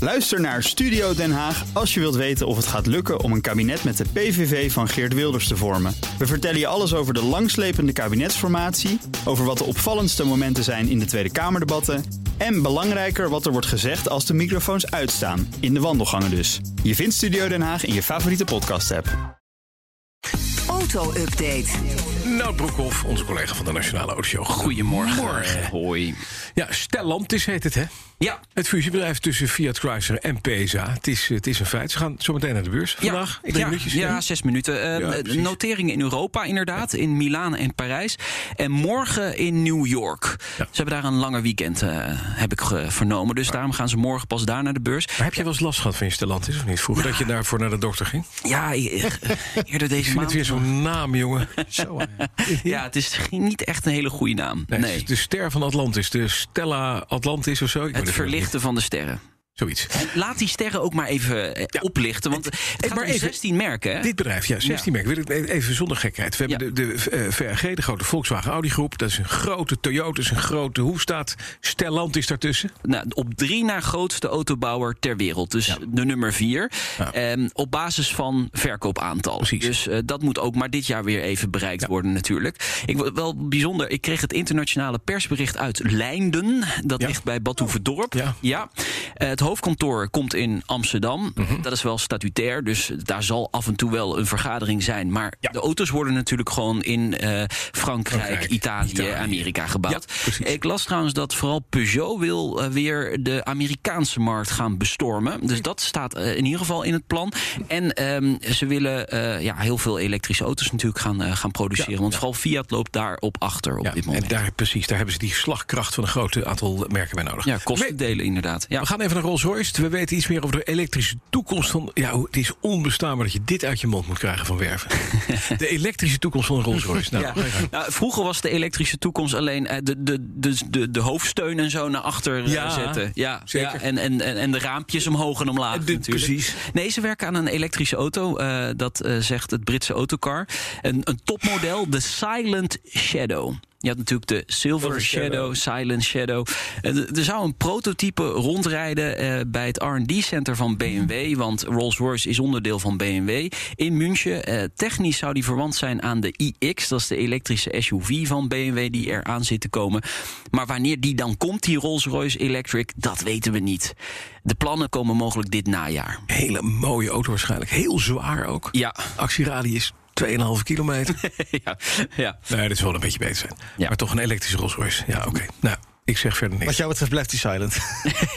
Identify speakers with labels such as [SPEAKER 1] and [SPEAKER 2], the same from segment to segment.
[SPEAKER 1] Luister naar Studio Den Haag als je wilt weten of het gaat lukken om een kabinet met de PVV van Geert Wilders te vormen. We vertellen je alles over de langslepende kabinetsformatie, over wat de opvallendste momenten zijn in de Tweede Kamerdebatten en belangrijker wat er wordt gezegd als de microfoons uitstaan, in de wandelgangen dus. Je vindt Studio Den Haag in je favoriete podcast-app.
[SPEAKER 2] Auto-update.
[SPEAKER 3] Nout Broekhoff, onze collega van de Nationale Autoshow. Goedemorgen.
[SPEAKER 4] Hoi.
[SPEAKER 3] Ja, Stellantis heet het, hè?
[SPEAKER 4] Ja,
[SPEAKER 3] Het fusiebedrijf tussen Fiat Chrysler en PSA. Het is, het is een feit. Ze gaan zo meteen naar de beurs vandaag.
[SPEAKER 4] Ja,
[SPEAKER 3] Drie
[SPEAKER 4] ja,
[SPEAKER 3] minuutjes.
[SPEAKER 4] ja, zes minuten. Eh,
[SPEAKER 3] Ja,
[SPEAKER 4] eh,
[SPEAKER 3] precies.
[SPEAKER 4] noteringen in Europa inderdaad, in Milaan en Parijs. En morgen in New York.
[SPEAKER 3] Ja.
[SPEAKER 4] Ze hebben daar een langer weekend, eh, heb ik eh, vernomen. Dus daarom gaan ze morgen pas daar naar de beurs.
[SPEAKER 3] Maar heb je wel eens last gehad van je Stellantis of niet? Vroeger dat je daarvoor naar de dokter ging? Ik
[SPEAKER 4] Ja, eh, eerder deze
[SPEAKER 3] vind
[SPEAKER 4] maand.
[SPEAKER 3] het weer zo'n naam, jongen. Zo,
[SPEAKER 4] Ja, het is geen- niet echt een hele goede naam.
[SPEAKER 3] Nee,
[SPEAKER 4] Nee,
[SPEAKER 3] het is dus De ster van Atlantis. De Stella Atlantis of zo. Ik weet
[SPEAKER 4] Het verlichten van de sterren.
[SPEAKER 3] Zoiets.
[SPEAKER 4] Laat die sterren ook maar even eh,
[SPEAKER 3] Ja.
[SPEAKER 4] oplichten. Want het gaat
[SPEAKER 3] maar
[SPEAKER 4] om
[SPEAKER 3] even-
[SPEAKER 4] 16 merken. Hè?
[SPEAKER 3] Dit bedrijf, ja, 16 merk. Wil ik e- even zonder gekheid. We
[SPEAKER 4] Ja.
[SPEAKER 3] hebben de, de eh, VRG, de grote Volkswagen Audi groep. Dat is een grote Toyota, is een grote Hoefstaat. Stellantis daartussen.
[SPEAKER 4] Nou, op drie na grootste autobouwer ter wereld. Dus de nummer vier. Ehm, op basis van verkoopaantal.
[SPEAKER 3] Precies.
[SPEAKER 4] Dus eh, dat moet ook maar dit jaar weer even bereikt worden natuurlijk. Ik, wil- wel bijzonder, ik kreeg het internationale persbericht uit Leinden. Dat
[SPEAKER 3] Ja.
[SPEAKER 4] ligt bij Badhoevedorp.
[SPEAKER 3] Ja.
[SPEAKER 4] Eh, het hoofdkantoor komt in Amsterdam.
[SPEAKER 3] Mhm.
[SPEAKER 4] Dat is wel statutair, dus daar zal af en toe wel een vergadering zijn. Maar
[SPEAKER 3] Ja.
[SPEAKER 4] de auto's worden natuurlijk gewoon in eh, Frankrijk,
[SPEAKER 3] Frankrijk,
[SPEAKER 4] Italië,
[SPEAKER 3] Italië.
[SPEAKER 4] Amerika gebouwd.
[SPEAKER 3] Ja, precies.
[SPEAKER 4] Ik las trouwens dat vooral Peugeot wil eh, weer de Amerikaanse markt gaan bestormen.
[SPEAKER 3] Hm.
[SPEAKER 4] Dus dat staat eh, in ieder geval in het plan. En ehm, ze willen eh, ja, heel veel elektrische auto's natuurlijk gaan, eh, gaan produceren.
[SPEAKER 3] Ja,
[SPEAKER 4] want vooral Fiat loopt daarop achter op
[SPEAKER 3] Ja,
[SPEAKER 4] dit
[SPEAKER 3] en
[SPEAKER 4] moment.
[SPEAKER 3] daar, precies, daar hebben ze die slagkracht van een groot aantal merken bij nodig.
[SPEAKER 4] Ja, kostendelen inderdaad. Ja.
[SPEAKER 3] We gaan even naar Rolls-Royce. We weten iets meer over de elektrische toekomst van... Ja, hoe- het is onbestaanbaar dat je dit uit je mond moet krijgen van Werven. de elektrische toekomst van Rolls-Royce. Nou, ga je gang.
[SPEAKER 4] Nou, vroeger was de elektrische toekomst alleen eh, de, de, de, de, de hoofdsteun en zo naar achter eh,
[SPEAKER 3] Ja,
[SPEAKER 4] zetten. Ja,
[SPEAKER 3] zeker.
[SPEAKER 4] ja, en, en, en en de raampjes omhoog en omlaag.
[SPEAKER 3] En dit
[SPEAKER 4] natuurlijk.
[SPEAKER 3] precies.
[SPEAKER 4] Nee, ze werken aan een elektrische auto. eh, dat eh, zegt het Britse autocar. Een, een topmodel, de Silent Shadow. Je had natuurlijk de Silver Shadow, Silent Shadow. Eh, d- Er zou een prototype rondrijden eh, bij het RD-center van BMW. Want Rolls-Royce is onderdeel van BMW. In München. Eh, technisch zou die verwant zijn aan de iX. Dat is de elektrische SUV van BMW die eraan zit te komen. Maar wanneer die dan komt, die Rolls-Royce Electric, dat weten we niet. De plannen komen mogelijk dit najaar.
[SPEAKER 3] Hele mooie auto waarschijnlijk. Heel zwaar ook.
[SPEAKER 4] Ja.
[SPEAKER 3] Actieradius 2,5 kilometer.
[SPEAKER 4] ja, ja.
[SPEAKER 3] nee, dat is wel een beetje beter zijn.
[SPEAKER 4] Ja.
[SPEAKER 3] Maar toch een elektrische Rolls-Royce. Ja, oké. Nou, ik zeg verder niks.
[SPEAKER 5] Wat jou betreft blijft hij silent.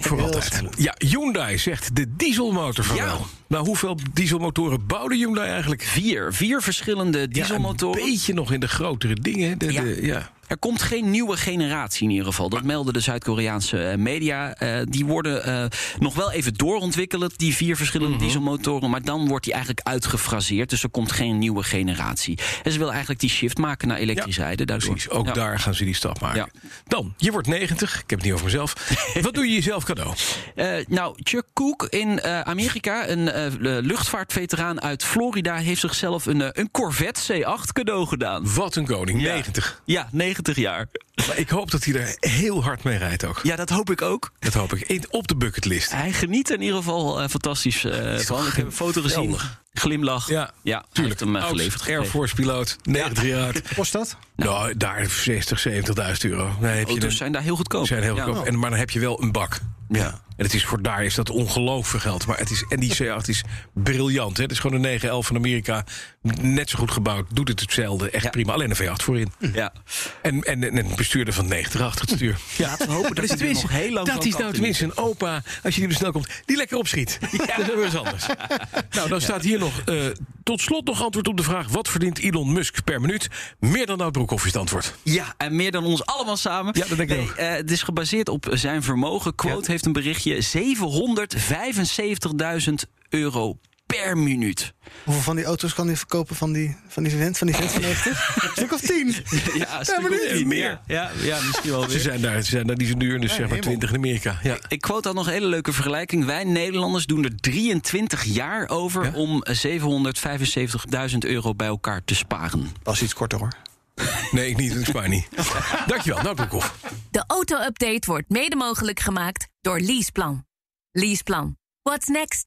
[SPEAKER 3] Voor altijd. Ja, Hyundai zegt de dieselmotor van
[SPEAKER 4] Ja.
[SPEAKER 3] wel. Nou, hoeveel dieselmotoren bouwde Hyundai eigenlijk?
[SPEAKER 4] Vier, vier verschillende dieselmotoren.
[SPEAKER 3] Ja, een beetje nog in de grotere dingen. De,
[SPEAKER 4] Ja.
[SPEAKER 3] de- ja.
[SPEAKER 4] Er komt geen nieuwe generatie in ieder geval.
[SPEAKER 3] Ah.
[SPEAKER 4] Dat melden de Zuid-Koreaanse eh, media. Eh, die worden eh, nog wel even doorontwikkeld, die vier verschillende
[SPEAKER 3] Mhm.
[SPEAKER 4] dieselmotoren. Maar dan wordt die eigenlijk uitgefraseerd. Dus er komt geen nieuwe generatie. En ze willen eigenlijk die shift maken naar elektrisch
[SPEAKER 3] Ja,
[SPEAKER 4] rijden. Daardoor.
[SPEAKER 3] Precies, ook
[SPEAKER 4] Ja.
[SPEAKER 3] daar gaan ze die stap maken.
[SPEAKER 4] Ja.
[SPEAKER 3] Dan, je wordt 90. Ik heb het niet over mezelf. Wat doe je jezelf cadeau?
[SPEAKER 4] Eh, nou, Chuck Cook in eh, Amerika, een eh, luchtvaartveteraan uit Florida, heeft zichzelf een, eh, een Corvette C8 cadeau gedaan.
[SPEAKER 3] Wat een koning,
[SPEAKER 4] Ja.
[SPEAKER 3] 90.
[SPEAKER 4] Ja, 90 jaar.
[SPEAKER 3] Maar ik hoop dat hij er heel hard mee rijdt ook.
[SPEAKER 4] Ja, dat hoop ik ook.
[SPEAKER 3] Dat hoop ik. In- Op de bucketlist.
[SPEAKER 4] Hij geniet er in ieder geval eh, fantastisch eh, van. Ik heb een foto gezien.
[SPEAKER 3] geweldig.
[SPEAKER 4] Glimlach.
[SPEAKER 3] Ja,
[SPEAKER 4] hij heeft hem eh,
[SPEAKER 3] Oud
[SPEAKER 4] geleverd
[SPEAKER 3] Air
[SPEAKER 4] gekregen.
[SPEAKER 3] Force piloot, 90 jaar oud.
[SPEAKER 5] Kost dat?
[SPEAKER 3] Nou, daar 60, 70.000 euro. Nee, heb je
[SPEAKER 4] Auto's
[SPEAKER 3] dan,
[SPEAKER 4] zijn daar heel goedkoop.
[SPEAKER 3] zijn heel
[SPEAKER 4] dus oh, Ja.
[SPEAKER 3] goedkoop. En, maar dan heb je wel een bak.
[SPEAKER 4] Ja.
[SPEAKER 3] En het is voor daar is dat ongelooflijk veel geld. Maar het is, en die C8 is briljant. Hè? Het is gewoon een 911 van Amerika. Net zo goed gebouwd. Doet het hetzelfde. Echt
[SPEAKER 4] Ja. Hm.
[SPEAKER 3] prima. Alleen een V8 voorin.
[SPEAKER 4] Ja.
[SPEAKER 3] En, en, en een bestuurder van 90 achter het stuur.
[SPEAKER 4] Ja, laten we hopen dat
[SPEAKER 3] is
[SPEAKER 4] hij er
[SPEAKER 3] tenminste-
[SPEAKER 4] nog heel lang
[SPEAKER 3] dat
[SPEAKER 4] van
[SPEAKER 3] is
[SPEAKER 4] kan
[SPEAKER 3] nou tenminste een opa, als je die snel komt, die lekker opschiet. Dat is wel weer eens anders. Nou, dan staat hier nog, eh, tot slot nog antwoord op de vraag... wat verdient Elon Musk per minuut? Meer dan Nout Broekhoff is het antwoord.
[SPEAKER 4] Ja, en meer dan ons allemaal samen.
[SPEAKER 3] Ja, dat denk ik ook.
[SPEAKER 4] eh, het is gebaseerd op zijn vermogen. Quote heeft een berichtje. 775.000 euro per minuut.
[SPEAKER 5] Hoeveel van die auto's kan hij verkopen van die, van die vent van die vent van 90? Een stuk of 10.
[SPEAKER 4] Ja, een stuk of
[SPEAKER 5] minuut.
[SPEAKER 4] tien meer. Ja, ja, misschien wel
[SPEAKER 3] Ze
[SPEAKER 4] weer.
[SPEAKER 3] zijn daar, ze zijn daar die zijn duur, dus zeg maar
[SPEAKER 5] hemel.
[SPEAKER 3] 20 in Amerika. Ja.
[SPEAKER 4] Ik quote dan nog een hele leuke vergelijking. Wij Nederlanders doen er 23 jaar over
[SPEAKER 3] Ja?
[SPEAKER 4] om 775.000 euro bij elkaar te sparen.
[SPEAKER 5] Dat is iets korter hoor.
[SPEAKER 3] Nee, ik niet, ik spaar niet. Dankjewel, Nout Broekhoff.
[SPEAKER 2] De auto-update wordt mede mogelijk gemaakt door Leaseplan. Leaseplan. What's next?